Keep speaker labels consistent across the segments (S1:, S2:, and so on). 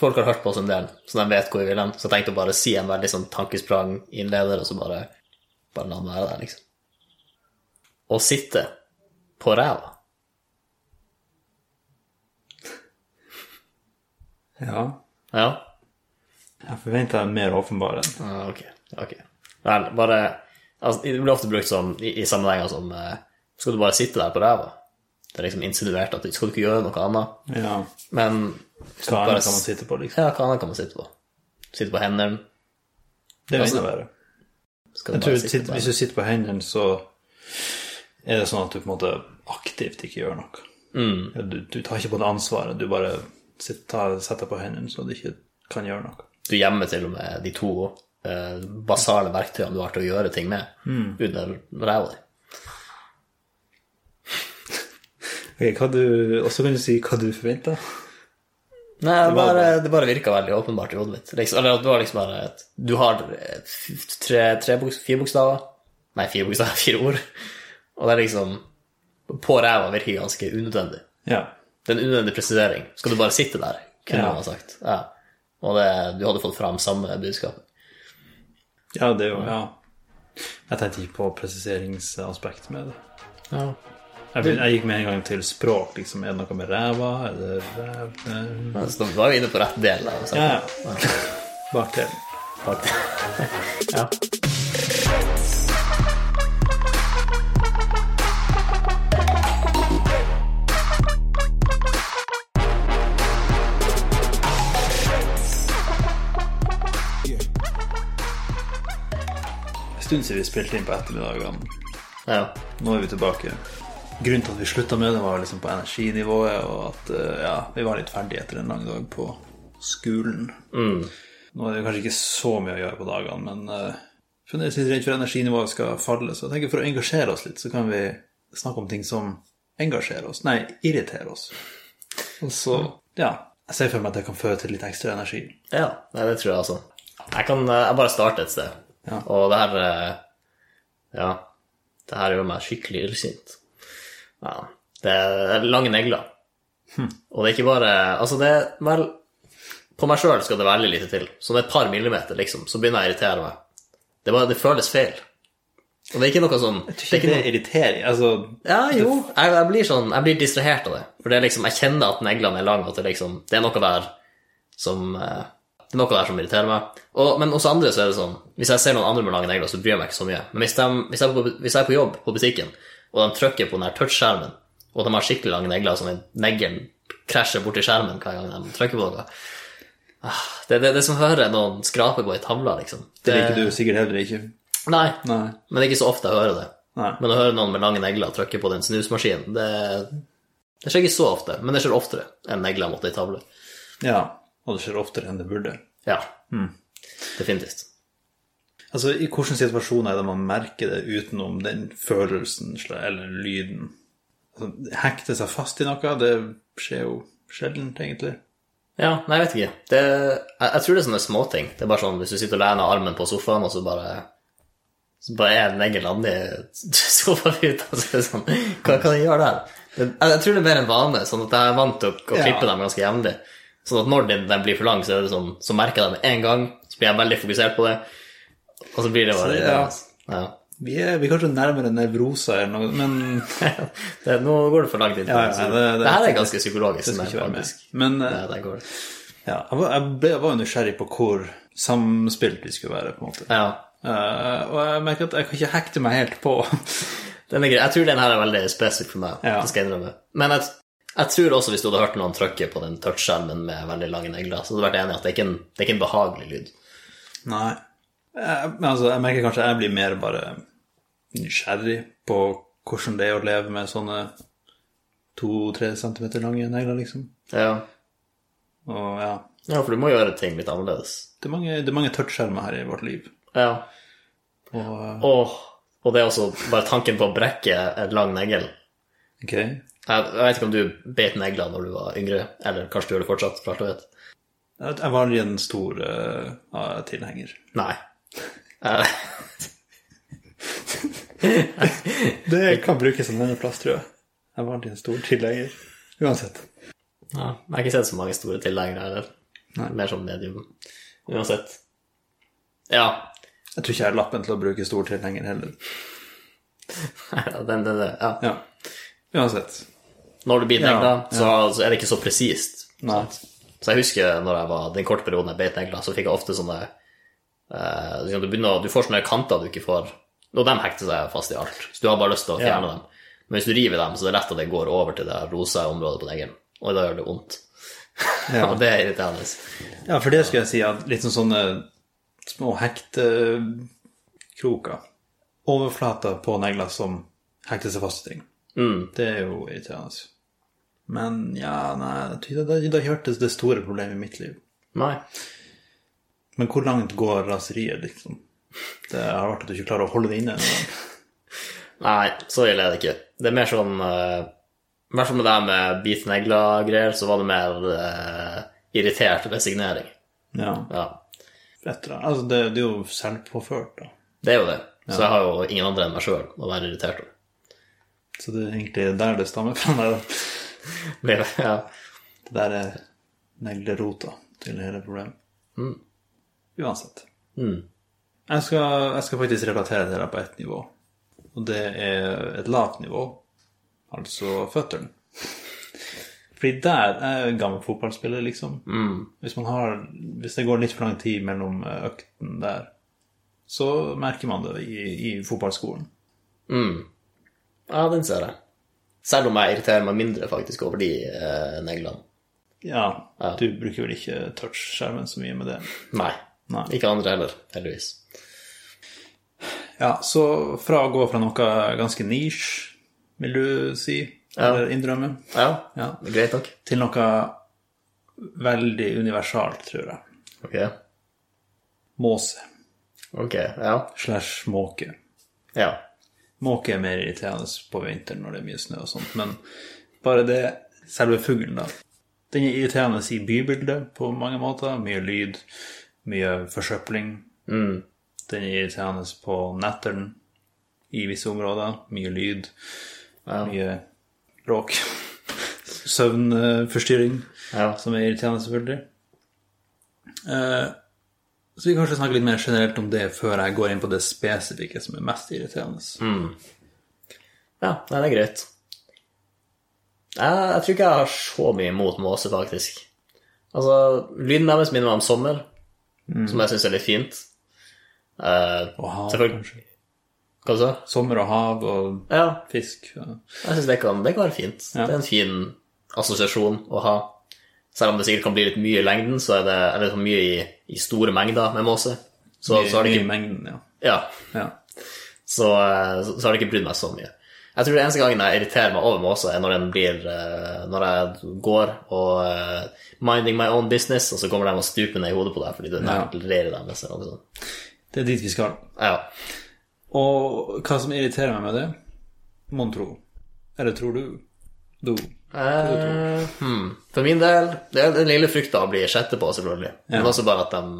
S1: folk har hørt på oss en del, så de vet hvor vi vil hen. Så jeg tenkte å bare si en veldig sånn tankesprang-innleder, og så bare, bare la den være der, liksom. Å sitte på ræva.
S2: Ja.
S1: Ja,
S2: Jeg forventa en mer åpenbar en.
S1: Ah, ok. ok. Vel, bare altså, Det blir ofte brukt som, i, i sammenhenger som eh, Skal du bare sitte der på ræva? Det er liksom insinuert at du skal du ikke gjøre noe annet.
S2: Ja.
S1: Men
S2: Hva
S1: bare
S2: annet kan
S1: s-
S2: man sitte på, liksom?
S1: Ja, hva annet kan man sitte på? Sitte på hendene?
S2: Det er jo
S1: Altså,
S2: enda verre.
S1: Skal
S2: Jeg
S1: du
S2: tror
S1: bare sitte
S2: sitt-
S1: på
S2: Hvis
S1: hendene?
S2: du sitter på hendene, så er det sånn at du på en måte aktivt ikke gjør noe.
S1: Mm.
S2: Ja, Du, du tar ikke på det ansvaret, du bare sitter, tar, setter på hendene så du ikke kan gjøre noe.
S1: Du gjemmer til og med de to eh, basale verktøyene du har til å gjøre ting med, under ræva di.
S2: Ok, hva du, Og så kan du si hva du forventer.
S1: Nei, det bare, det bare virka veldig åpenbart i hodet mitt. Liksom, eller at du har liksom bare et, Du har eh, f- tre, tre boks, fire bokstaver Nei, fire bokstaver, fire ord. Og det er liksom På ræva virker ganske unødvendig.
S2: Ja.
S1: Det er en unødvendig presisering. Skal du bare sitte der, kunne
S2: Ja.
S1: man ha sagt. Ja. Og det, du hadde fått fram samme budskap.
S2: ja, det er jo Ja. Jeg tenkte ikke på presiseringsaspekt med det.
S1: Ja.
S2: Jeg, vil- jeg gikk med en gang til språk, liksom. Er det noe med ræva? Er det ræv... nei.
S1: Men så da var vi inne på rett del. altså. Da, så.
S2: Ja, ja. Bak til.
S1: Faktisk. ja.
S2: En stund siden vi spilte inn på ettermiddagene.
S1: ja.
S2: Nå er vi tilbake. Grunnen til at vi slutta med det, var liksom på energinivået, og at eh, ja, vi var litt ferdige etter en lang dag på skolen. Mm. Nå er det kanskje ikke så mye å gjøre på dagene, men eh, fremdeles litt redd for energinivået skal falle. Så jeg tenker for å engasjere oss litt, så kan vi snakke om ting som engasjerer oss, nei, irriterer oss. Og så, ja Jeg ser for meg at det kan føre til litt ekstra energi.
S1: Ja, nei, det tror jeg altså. Jeg kan eh, jeg bare starte et sted.
S2: Ja.
S1: Og det her eh, Ja. Det her gjør meg skikkelig illsint. Ja. Det er lange negler.
S2: Hm.
S1: Og det er ikke bare Altså, det er vel På meg sjøl skal det veldig lite til. Så det er et par millimeter, liksom, så begynner jeg å irritere meg. Det, er bare, det føles feil. Og det er ikke noe sånn
S2: Jeg tror ikke det irriterer. Altså,
S1: Ja, jo. Jeg, jeg blir sånn, jeg blir distrahert av det. For det er liksom, jeg kjenner at neglene er lange, og at det, liksom, det er noe der som eh, Det er noe der som irriterer meg. Og, men hos andre så er det sånn Hvis jeg ser noen andre med lange negler, så bryr jeg meg ikke så mye. Men hvis, de, hvis, jeg, er på, hvis jeg er på jobb på butikken, og de trykker på den her touchskjermen, og de har skikkelig lange negler, sånn at neglen krasjer borti skjermen hver gang de trykker på noe Ah, Det er det, det er som hører noen skrape på ei tavle, liksom.
S2: det liker du sikkert heller ikke.
S1: Nei,
S2: Nei.
S1: men det er ikke så ofte jeg hører det.
S2: Nei.
S1: Men å høre noen med lange negler trykke på den snusmaskinen, det, det skjer ikke så ofte, men det skjer oftere enn negler mot ei tavle.
S2: Ja. Og det skjer oftere enn det burde.
S1: Ja. Definitivt.
S2: Altså, I hvilke situasjoner er det man merker det utenom den følelsen sla- eller lyden? Altså, hekte seg fast i noe, det skjer jo sjelden, egentlig.
S1: Ja, nei, jeg vet ikke. Det, jeg, jeg tror det er sånne småting. Det er bare sånn hvis du sitter og lener armen på sofaen, og så bare så bare er en negl landi sofaputa, og så er det sånn Hva kan jeg gjøre der? Jeg, jeg tror det er mer en vane, sånn at jeg er vant til å, å
S2: Ja.
S1: klippe dem ganske jevnlig. Sånn at når den, den blir for lang, så, er det sånn, så merker jeg det med en gang, så blir jeg veldig fokusert på det, og så blir det bare
S2: Så, ja.
S1: ja.
S2: Vi er, vi er kanskje nærmere nevroser eller noe, men
S1: det, Nå går det for langt inn. på
S2: Ja, ja,
S1: så
S2: det- det-
S1: det her er ganske psykologisk.
S2: det skal
S1: men
S2: ikke være med.
S1: faktisk-
S2: Men eh,
S1: Ja, der går det.
S2: ja, jeg var, jeg ble, jeg var jo nysgjerrig på hvor samspilt vi skulle være, på en måte.
S1: Ja.
S2: Eh, og jeg merker at jeg kan ikke hekte meg helt på.
S1: Den er grei. Jeg tror den her er veldig spesifikk for meg.
S2: Ja.
S1: Det skal jeg innrømme. Men jeg, jeg tror også hvis du hadde hørt noen trykke på den touchskjermen med veldig lange negler, så hadde du vært enig i at det er ikke en, det er ikke en behagelig lyd.
S2: Nei. Jeg, men altså, jeg merker kanskje jeg blir mer bare nysgjerrig på hvordan det er å leve med sånne to-tre centimeter lange negler, liksom.
S1: Ja.
S2: Og ja,
S1: ja, for du må gjøre ting litt annerledes.
S2: det er mange, det er mange touchskjermer her i vårt liv.
S1: Ja.
S2: Og eh,
S1: Og, og det er også bare tanken på å brekke en lang negl.
S2: ok,
S1: Jeg, jeg vet ikke om du beit negler når du var yngre, eller kanskje du gjør det fortsatt, for alt jeg vet.
S2: jeg jeg var en stor eh, ja, tilhenger.
S1: Nei. Eh,
S2: Det kan brukes som venneplass, tror jeg. Jeg var en stor tilhenger. Uansett.
S1: ja, jeg har ikke sett så mange store tilhengere heller.
S2: Nei.
S1: Mer som medium. Uansett. Ja.
S2: Jeg tror ikke jeg har lappen til å bruke stor til lenger heller.
S1: den, den, den, ja.
S2: Ja. Uansett.
S1: Når du blir
S2: Ja,
S1: negla, så, så er det ikke så presist.
S2: Nei.
S1: Så jeg husker når jeg var, den korte perioden jeg beit negler, så fikk jeg ofte sånne eh, liksom du, begynner, å- du får sånne kanter du ikke får Og de hekter seg fast i alt, så du har bare lyst til å fjerne
S2: Ja.
S1: dem. Men hvis du river dem, så er det lett at det går over til det rosa området på neglen, og da gjør det vondt.
S2: Ja.
S1: og det er irriterende.
S2: Ja, for det skulle jeg si, at litt sånn sånne små hektekroker Overflater på negler som hekter seg fast i ting. Det er jo irriterende. Men ja, nei, da, da, da hørtes det store problemet i mitt liv.
S1: Nei.
S2: Men hvor langt går raseriet, liksom? Det har vært at du ikke klarer å holde det inne.
S1: Nei, så ille er det ikke. Det er mer sånn eh, I hvert fall med det her med bit negler-greier, så var det mer eh, irritert resignering.
S2: Ja,
S1: Ja.
S2: etter det. Altså, det, det er jo selvpåført, da.
S1: Det er jo det. Så jeg har jo ingen andre enn meg sjøl å være irritert over.
S2: Så det er egentlig der det stammer fra. Det,
S1: Blir det- Ja.
S2: det der er neglerota til hele problemet. Uansett.
S1: Mm.
S2: Jeg skal, jeg skal faktisk relatere til deg på ett nivå. Og det er et lavt nivå, altså føttene. Fordi der er jeg en gammel fotballspiller, liksom. Hvis, man har, hvis det går litt for lang tid mellom eh, økten der, så merker man det i, i fotballskolen.
S1: ja, den ser jeg. Selv om jeg irriterer meg mindre faktisk over de eh, neglene.
S2: Ja, du bruker vel ikke touchskjermen så mye med det.
S1: Nei.
S2: Nei.
S1: Ikke andre heller, heldigvis.
S2: Ja, så fra å gå fra noe ganske nisj, vil du si, eller innrømme,
S1: Ja,
S2: Ja.
S1: det er greit nok.
S2: til noe veldig universalt, tror jeg.
S1: Ok,
S2: Måse
S1: ok, ja.
S2: slash måke.
S1: ja.
S2: Måke er mer irriterende på vinteren når det er mye snø og sånt, men bare det Selve fuglen, da. Den er irriterende i bybildet på mange måter. Mye lyd, mye forsøpling. Den er irriterende på netteren i visse områder. Mye lyd, mye bråk. Søvnforstyrring,
S1: Ja.
S2: som er irriterende, selvfølgelig. Eh, Så vi kan kanskje snakke litt mer generelt om det før jeg går inn på det spesifikke som er mest irriterende.
S1: Ja, nei, det er greit. Jeg, jeg tror ikke jeg har så mye imot måse, faktisk. Altså, lyden deres minner meg om sommer,
S2: Mm.
S1: som jeg syns er litt fint. Eh,
S2: Og hav,
S1: Selvfølgelig.
S2: kanskje.
S1: hva du sa
S2: Sommer og hav og
S1: Ja,
S2: fisk. ja.
S1: jeg syns det, kan- det kan være fint. Det er en fin assosiasjon å ha. Selv om det sikkert kan bli litt mye i lengden, så er det, er det så mye i, i store mengder med måse. Så, så har det
S2: Mye
S1: ikke
S2: mengden, ja.
S1: Ja.
S2: ja.
S1: så, eh, så, så har det ikke brydd meg så mye. Jeg tror det eneste gangen jeg irriterer meg over måsa, er når den blir eh, Når jeg går og eh, minding my own business, og så kommer de og stuper ned i hodet på deg fordi det
S2: Ja.
S1: nerverer dem. eller noe sånt.
S2: Det er dit vi skal.
S1: Ja.
S2: Og hva som irriterer meg med det, mon tro. Eller tror du? Do.
S1: Eh, hmm. For min del, det er den lille frukta å bli sjette på, selvfølgelig. Men også bare at de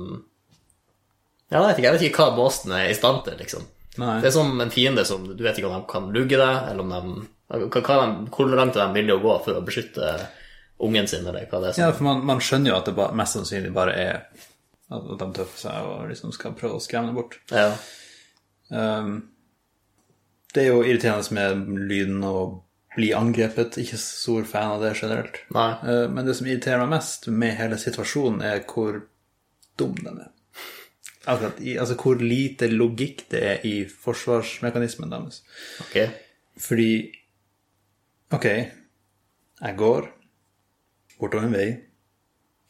S1: Ja, jeg vet ikke, jeg vet ikke hva måsen er i stand til, liksom.
S2: Nei.
S1: Det er som en fiende som Du vet ikke om de kan lugge deg, eller om de, hva, hva de Hvor langt er de villige å gå for å beskytte ungen sin, eller hva det er. Som,
S2: Ja, for man, man skjønner jo at det ba, mest sannsynlig bare er at at de tøffer seg og liksom skal prøve å skremme det bort.
S1: ja.
S2: Ehm, det er jo irriterende med lyden og bli angrepet. Ikke så stor fan av det generelt.
S1: Nei.
S2: Eh, Men det som irriterer meg mest med hele situasjonen, er hvor dum den er. Akkurat, i, altså hvor lite logikk det er i forsvarsmekanismen deres.
S1: Ok.
S2: Fordi OK, jeg går bortover en vei,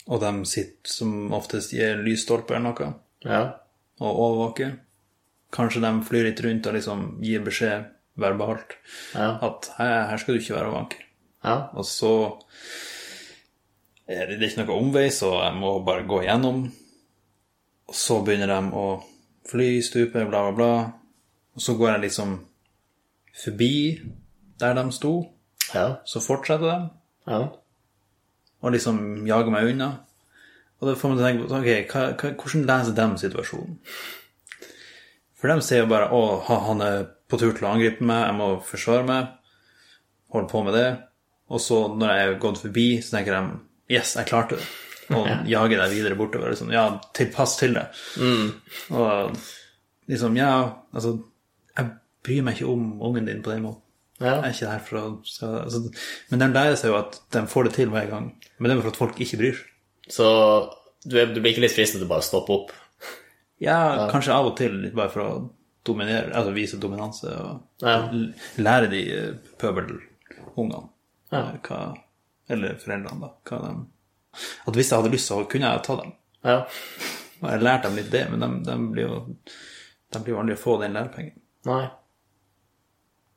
S2: og de sitter som oftest i en lysstolpe eller noe
S1: Ja.
S2: og overvåker. Kanskje de flyr litt rundt og liksom gir beskjed verbalt
S1: Ja.
S2: at her, her skal du ikke være og vanker.
S1: Ja.
S2: Og så er det det er ikke noe omvei, så jeg må bare gå igjennom. Og så begynner de å fly, stupe, bla, bla, bla. Og så går jeg liksom forbi der de sto,
S1: Ja.
S2: så fortsetter de
S1: Ja.
S2: og liksom jager meg unna. Og det får meg til å tenke på, ok, hva, hva, hvordan leser de situasjonen? For de ser jo bare, å, ha- han er på tur til å angripe meg, jeg må forsvare meg, holde på med det. Og så når jeg er gått forbi, så tenker de, yes, jeg klarte det. og jager deg videre bortover. Liksom, ja, tilpass til det. Og liksom, ja, altså Jeg bryr meg ikke om ungen din på den måten.
S1: Ja.
S2: Jeg er ikke her for å så, altså, Men de lærer seg jo at de får det til hver gang. Men det er jo for at folk ikke bryr seg.
S1: Så du, er, du blir ikke litt fristet til bare å stoppe opp?
S2: Ja, kanskje av og til, litt bare for å dominere, altså vise dominanse og
S1: Ja.
S2: l- lære de eh, pøbelungene, eh, hva, eller foreldrene, da, hva de At hvis jeg hadde lyst, så kunne jeg ta dem.
S1: Ja.
S2: Og jeg lærte dem litt det, men de, de blir jo de blir jo aldri å få den lærepengen.
S1: Nei.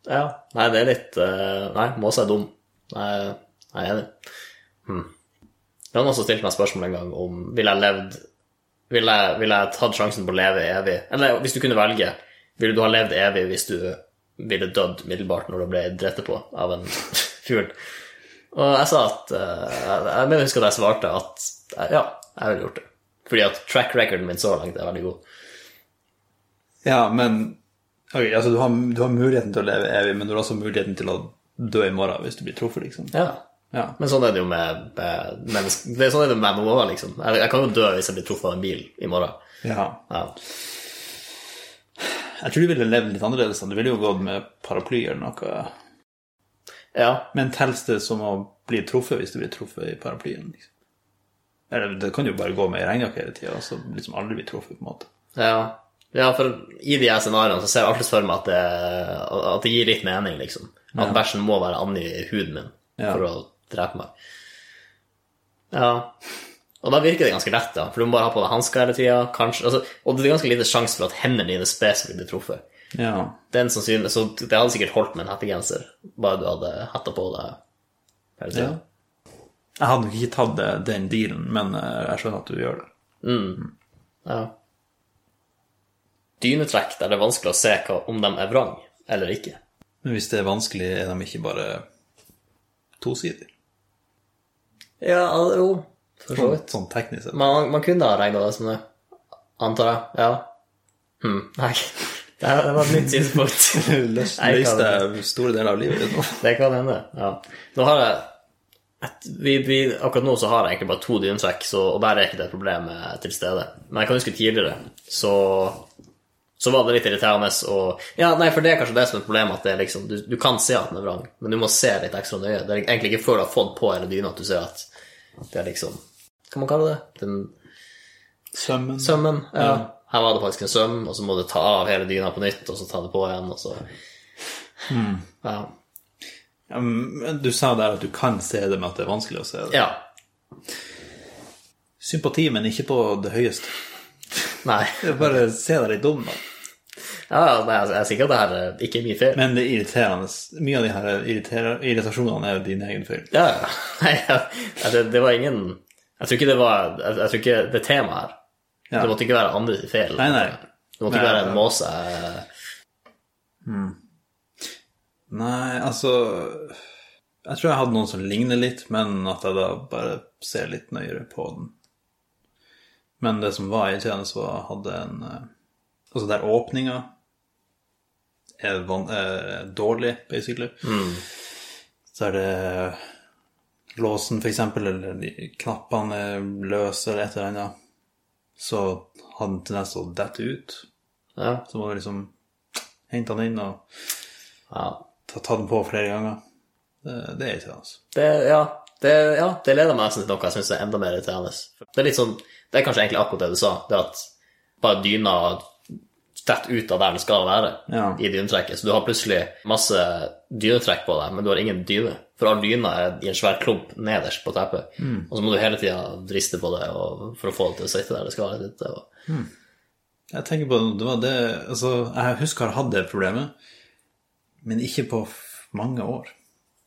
S1: Ja. Nei, det er litt eh, Nei, Måse er dum. Nei, jeg er enig. Hmm. Noen har også stilt meg spørsmål en gang om ville jeg levd Ville jeg, ville jeg tatt sjansen på å leve evig? Eller hvis du kunne velge, ville du ha levd evig hvis du ville dødd middelbart når du ble drept på av en fugl? Og jeg sa at eh, Jeg jeg mener jeg husker at jeg svarte at eh, ja, jeg ville gjort det. Fordi at track recorden min så langt er veldig god.
S2: Ja, men ok, altså, du, har, du har muligheten til å leve evig, men du har også muligheten til å dø i morgen hvis du blir truffet, liksom.
S1: Ja.
S2: Ja.
S1: Men sånn er det jo med, med mennesker det er Sånn er det med MMO-er, liksom. Jeg, jeg kan jo dø hvis jeg blir truffet av en bil i morgen.
S2: ja.
S1: Ja.
S2: Jeg tror du ville levd litt annerledes. da. Du ville jo gått med paraply eller noe.
S1: ja.
S2: Men telles det som å bli truffet hvis du blir truffet i paraplyen? Liksom? Eller det kan jo bare gå med i regnjakke hele tida, så liksom aldri bli truffet, på en måte.
S1: ja. Ja, for i de her scenarioene så ser jeg alltid for meg at det, at det gir litt mening, liksom. At bæsjen må være annen i huden min
S2: Ja.
S1: for å drepe meg. Ja. Og da virker det ganske lett, da. For du må bare ha på deg hansker hele tida. Altså, og det er ganske lite sjanse for at hendene dine spesifikt blir truffet.
S2: Ja.
S1: Den sannsynlig, så det hadde sikkert holdt med en hettegenser, bare du hadde hetta på deg. hele tiden.
S2: Ja. Jeg hadde nok ikke tatt det- den dealen, men eh, jeg skjønner at du gjør det.
S1: Ja. Dynetrekk der det er vanskelig å se hva, om de er vrang eller ikke.
S2: Men hvis det er vanskelig, er de ikke bare tosidige?
S1: Ja, jo, for så
S2: Sånn,
S1: vidt.
S2: sånn teknisk sett.
S1: Man, man kunne ha regna det som det, antar jeg. Ja. Hm, nei. Det, her- det var et nytt synspunkt.
S2: Løs-
S1: Nei, jeg kan
S2: Løste jeg store deler av livet ditt nå?
S1: det kan hende, ja. Nå har jeg et, vi, vi, Akkurat nå så har jeg egentlig bare to dynetrekk, så, og der er ikke det problemet til stede. Men jeg kan huske tidligere, så så var det litt irriterende og Ja, nei, for det er kanskje det som er problemet, at det er liksom Du, du kan se at den er vrang, men du må se litt ekstra nøye. Det er egentlig ikke før du har fått på hele dyna at du ser at det er liksom Hva kan man kalle det? Den
S2: Sømmen.
S1: sømmen. Ja. Her var det faktisk en søm, og så må du ta av hele dyna på nytt, og så ta det på igjen, og så Ja.
S2: Ja, men Du sa der at du kan se det, men at det er vanskelig å se det.
S1: ja.
S2: Sympati, men ikke på det høyeste.
S1: Nei.
S2: Det er Bare se deg litt dum, da.
S1: Ja, ja, nei, jeg er sikker på at det her eh, ikke er min feil.
S2: Men det er irriterende. Mye av de her irriterer- irritasjonene er jo din egen feil.
S1: Ja, ja. Nei, ja. Det, det var ingen Jeg tror ikke det var Jeg, jeg tror ikke det temaet her
S2: Ja.
S1: Det måtte ikke være andres feil.
S2: Nei, nei.
S1: Det måtte ikke
S2: Nei,
S1: være en
S2: ja.
S1: måse. eh,
S2: Nei, altså Jeg tror jeg hadde noen som ligner litt, men at jeg da bare ser litt nøyere på den. Men det som var irriterende, så hadde en eh, Altså, der åpninga er, van, er dårlig, basically. Så er det låsen, for eksempel, eller de knappene er løse, eller et eller annet. Så hadde den tendens til å dette ut.
S1: Ja.
S2: Så må du liksom hente den inn og
S1: Ja.
S2: ta, ta den på flere ganger. Det, det er ikke det, altså.
S1: Det, ja. Det, ja, det leder meg nesten til noe jeg syns er enda mer irriterende. Det er litt sånn, det er kanskje egentlig akkurat det du sa, det at bare dyna detter ut av der den skal være,
S2: Ja.
S1: i dynetrekket. Så du har plutselig masse dynetrekk på deg, men du har ingen dyne. For all dyna er i en svær klump nederst på teppet, og så må du hele tida riste på det og, for å få det til å sitte der det skal sitte. Og,
S2: Jeg tenker på det var det Altså, jeg husker jeg har hatt det problemet, men ikke på f- mange år.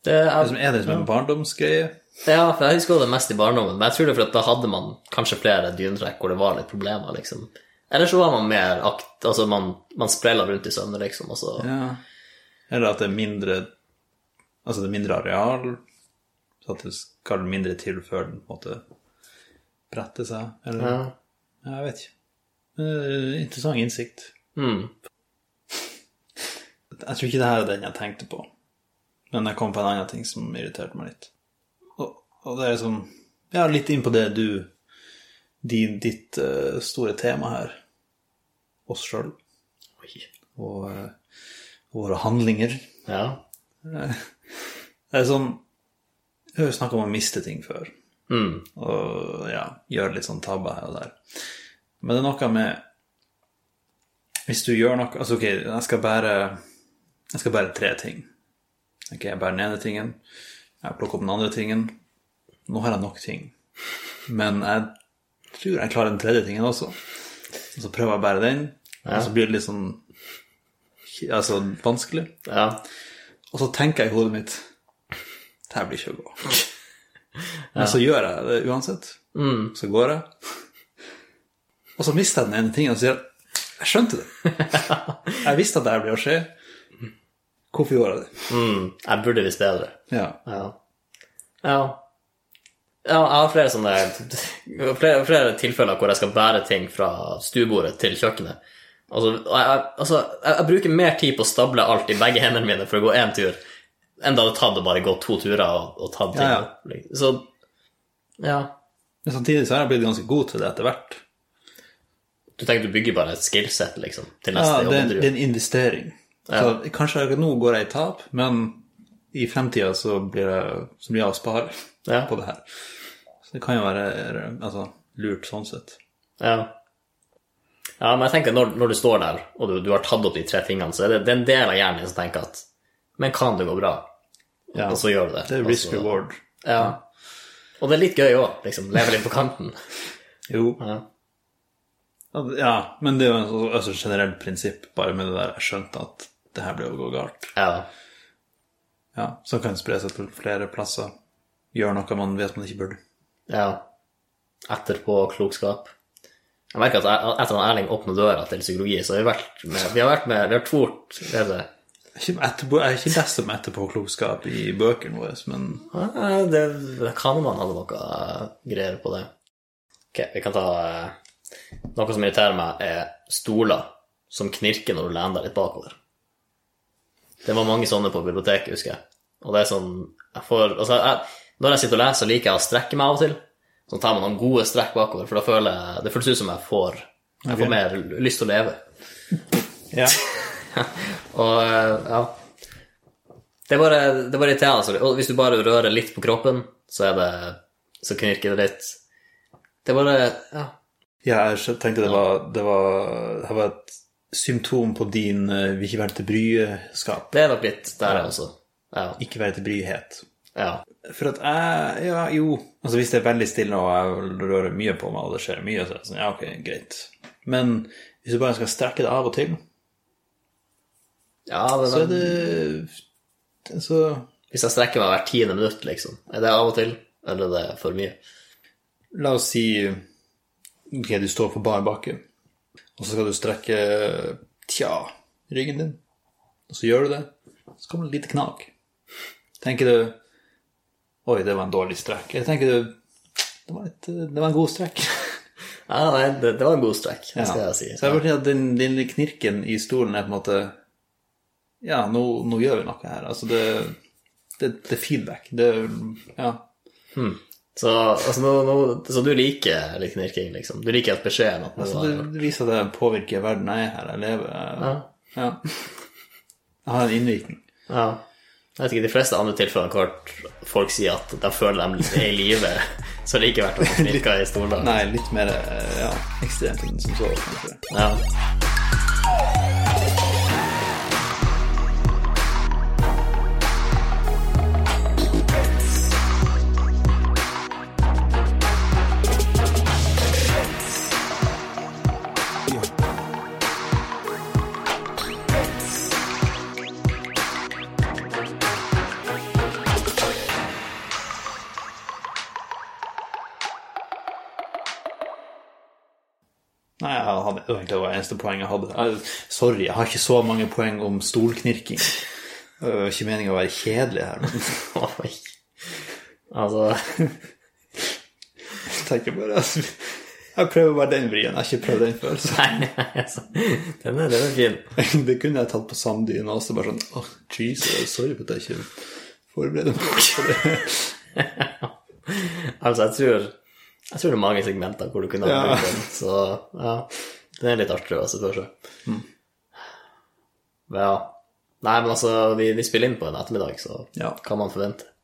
S1: det er,
S2: Det som er det som en barndomsgreie.
S1: Ja, for jeg husker det mest i barndommen, men jeg tror det er fordi at da hadde man kanskje flere dynetrekk hvor det var litt problemer, liksom. Eller så var man mer akt... Altså, man, man sprella rundt i søvne, liksom, og så
S2: Ja. Eller at det er mindre Altså, det er mindre areal, så at det skal mindre til før den på en måte bretter seg, eller
S1: ja.
S2: Jeg vet ikke. Men det er en Interessant innsikt.
S1: Mm.
S2: Jeg tror ikke det her er den jeg tenkte på. Men jeg kom på en annen ting som irriterte meg litt. Og, og det er liksom Ja, litt inn på det du din, ditt eh, store tema her. Oss sjøl
S1: Oi.
S2: og eh, våre handlinger.
S1: Ja.
S2: Det er sånn Vi har jo snakka om å miste ting før.
S1: Mm.
S2: Og ja, gjøre litt sånn tabber her og der. Men det er noe med Hvis du gjør noe Altså, ok, jeg skal bære Jeg skal bære tre ting. Ok, jeg bærer den ene tingen. Jeg plukker opp den andre tingen. Nå har jeg nok ting. Men jeg tror jeg klarer den tredje tingen også. Og så prøver jeg å bære den, og så blir det litt sånn Altså vanskelig.
S1: Ja.
S2: Og så tenker jeg i hodet mitt Det her blir ikke å gå. Men så gjør jeg det uansett. Så går jeg. Og så mister jeg den ene tingen og sier jeg, jeg skjønte det. Jeg visste at det her ble å skje. Hvorfor gjorde jeg det?
S1: Mm. Jeg burde visst bedre.
S2: Ja.
S1: Ja. Ja. ja jeg har flere sånne flere, flere tilfeller hvor jeg skal bære ting fra stuebordet til kjøkkenet. Altså, og jeg, altså, jeg, jeg bruker mer tid på å stable alt i begge hendene mine for å gå én tur, enn det hadde tatt å bare gå to turer og, og tatt ting.
S2: Ja,
S1: Så ja.
S2: Men samtidig så har jeg blitt ganske god til det etter hvert.
S1: Du tenker du bygger bare et skillset, liksom, til
S2: Ja,
S1: neste
S2: det,
S1: jobb?
S2: er en-
S1: du
S2: det er en investering. Så kanskje jeg- nå går jeg i tap, men i fremtida så blir jeg, så blir jeg å spare
S1: Ja.
S2: på det her. Så det kan jo være altså, lurt sånn sett.
S1: Ja. ja, men jeg tenker når, når du står der, og du, du har tatt opp de tre tingene, så er det, det er en del av hjernen din som tenker at Men kan det gå bra?
S2: Ja.
S1: Og så gjør du det.
S2: Det er
S1: Og
S2: risk
S1: så-
S2: reward.
S1: Ja. Og det er litt gøy òg, liksom. Leve litt på kanten.
S2: Jo.
S1: Ja.
S2: Ja, men det er jo et sånn- altså, generelt prinsipp, bare med det der jeg skjønte at det her ble å gå galt.
S1: ja.
S2: Ja, Som kan spre seg til flere plasser. Gjøre noe man vet man ikke burde.
S1: ja. Etterpåklokskap. Jeg merker at jeg- etter at Erling åpna døra til psykologi, så har vi vært med Vi har vært med, vi har tvort hva heter det?
S2: Jeg er ikke etterpå- jeg er ikke best om etterpåklokskap i bøkene våre, men
S1: Ja, det Kahneman hadde noe eh, greier på det. Ok, vi kan ta eh, Noe som irriterer meg, er stoler som knirker når du lener deg litt bakover. Det var mange sånne på biblioteket, husker jeg. Og det er sånn jeg får, altså, jeg, Når jeg sitter og leser, liker jeg å strekke meg av og til. Så tar man noen gode strekk bakover, for da føler jeg, det føles ut som jeg får, jeg
S2: Ok.
S1: får mer lyst til å leve.
S2: ja.
S1: Og eh, ja Det er bare, det er bare irriterende. altså. Og hvis du bare rører litt på kroppen, så er det Så knirker det litt. Det er bare Ja.
S2: Ja, jeg skjø- tenkte det var, det var, det var et symptom på din eh, vil ikke være til bryskap.
S1: Det er nok litt der, jeg også. Ja.
S2: Ikke være til bryhet.
S1: ja.
S2: For at jeg Ja, jo. Altså hvis det er veldig stille og jeg rører mye på meg, og det skjer mye, så er det sånn Ja, ok, greit. Men hvis du bare skal strekke det av og til,
S1: ja men,
S2: så er det Så
S1: Hvis jeg strekker meg hvert tiende minutt, liksom, er det av og til? Eller er det for mye?
S2: La oss si Ok, du står på bar bakke, og så skal du strekke Tja, ryggen din. Og så gjør du det. Så kommer det et lite knak. Tenker du Oi, det var en dårlig strekk. Eller tenker du Det var, et, det var en god strekk.
S1: Ja, nei, det, det var en god strekk, det skal
S2: Ja.
S1: jeg si.
S2: Så jeg vil si at den lille knirken i stolen er på en måte Ja, nå, nå gjør vi noe her. Altså, det, det, det er feedback. Det er Ja.
S1: Så, altså, nå, nå, så du liker litt knirking, liksom? Du liker at beskjeden at nå
S2: Så
S1: er-
S2: det viser at det påvirker verden jeg er her, jeg lever Jeg,
S1: ja.
S2: ja. jeg har en innvirkning.
S1: Ja. Jeg vet ikke, De fleste andre tilfeller har jeg hørt folk si at de føler de er i live. Så det er ikke verdt å knirke i stolen.
S2: Nei, litt mer eh, ja, ekstremt enn som så. kanskje.
S1: Ja.
S2: Nei, jeg hadde, det var egentlig det eneste poeng jeg hadde. Jeg, sorry, jeg har ikke så mange poeng om stolknirking. Det var ikke meningen å være kjedelig her, men
S1: Oi. Altså
S2: jeg tenker bare altså, Jeg prøver bare den vrien. Jeg har ikke prøvd den før. så
S1: Nei, nei, altså. Den er, den er fin.
S2: Det kunne jeg tatt på samdyn også, bare sånn åh, Jesus, sorry for at jeg ikke forbereder meg på det.
S1: Altså, jeg tror Jeg tror det er mange segmenter hvor du kunne ha brukt den, så ja. Den er litt artig å se for seg. Ja. Nei, men altså, vi, vi spiller inn på en ettermiddag, så
S2: Ja.
S1: kan man forvente.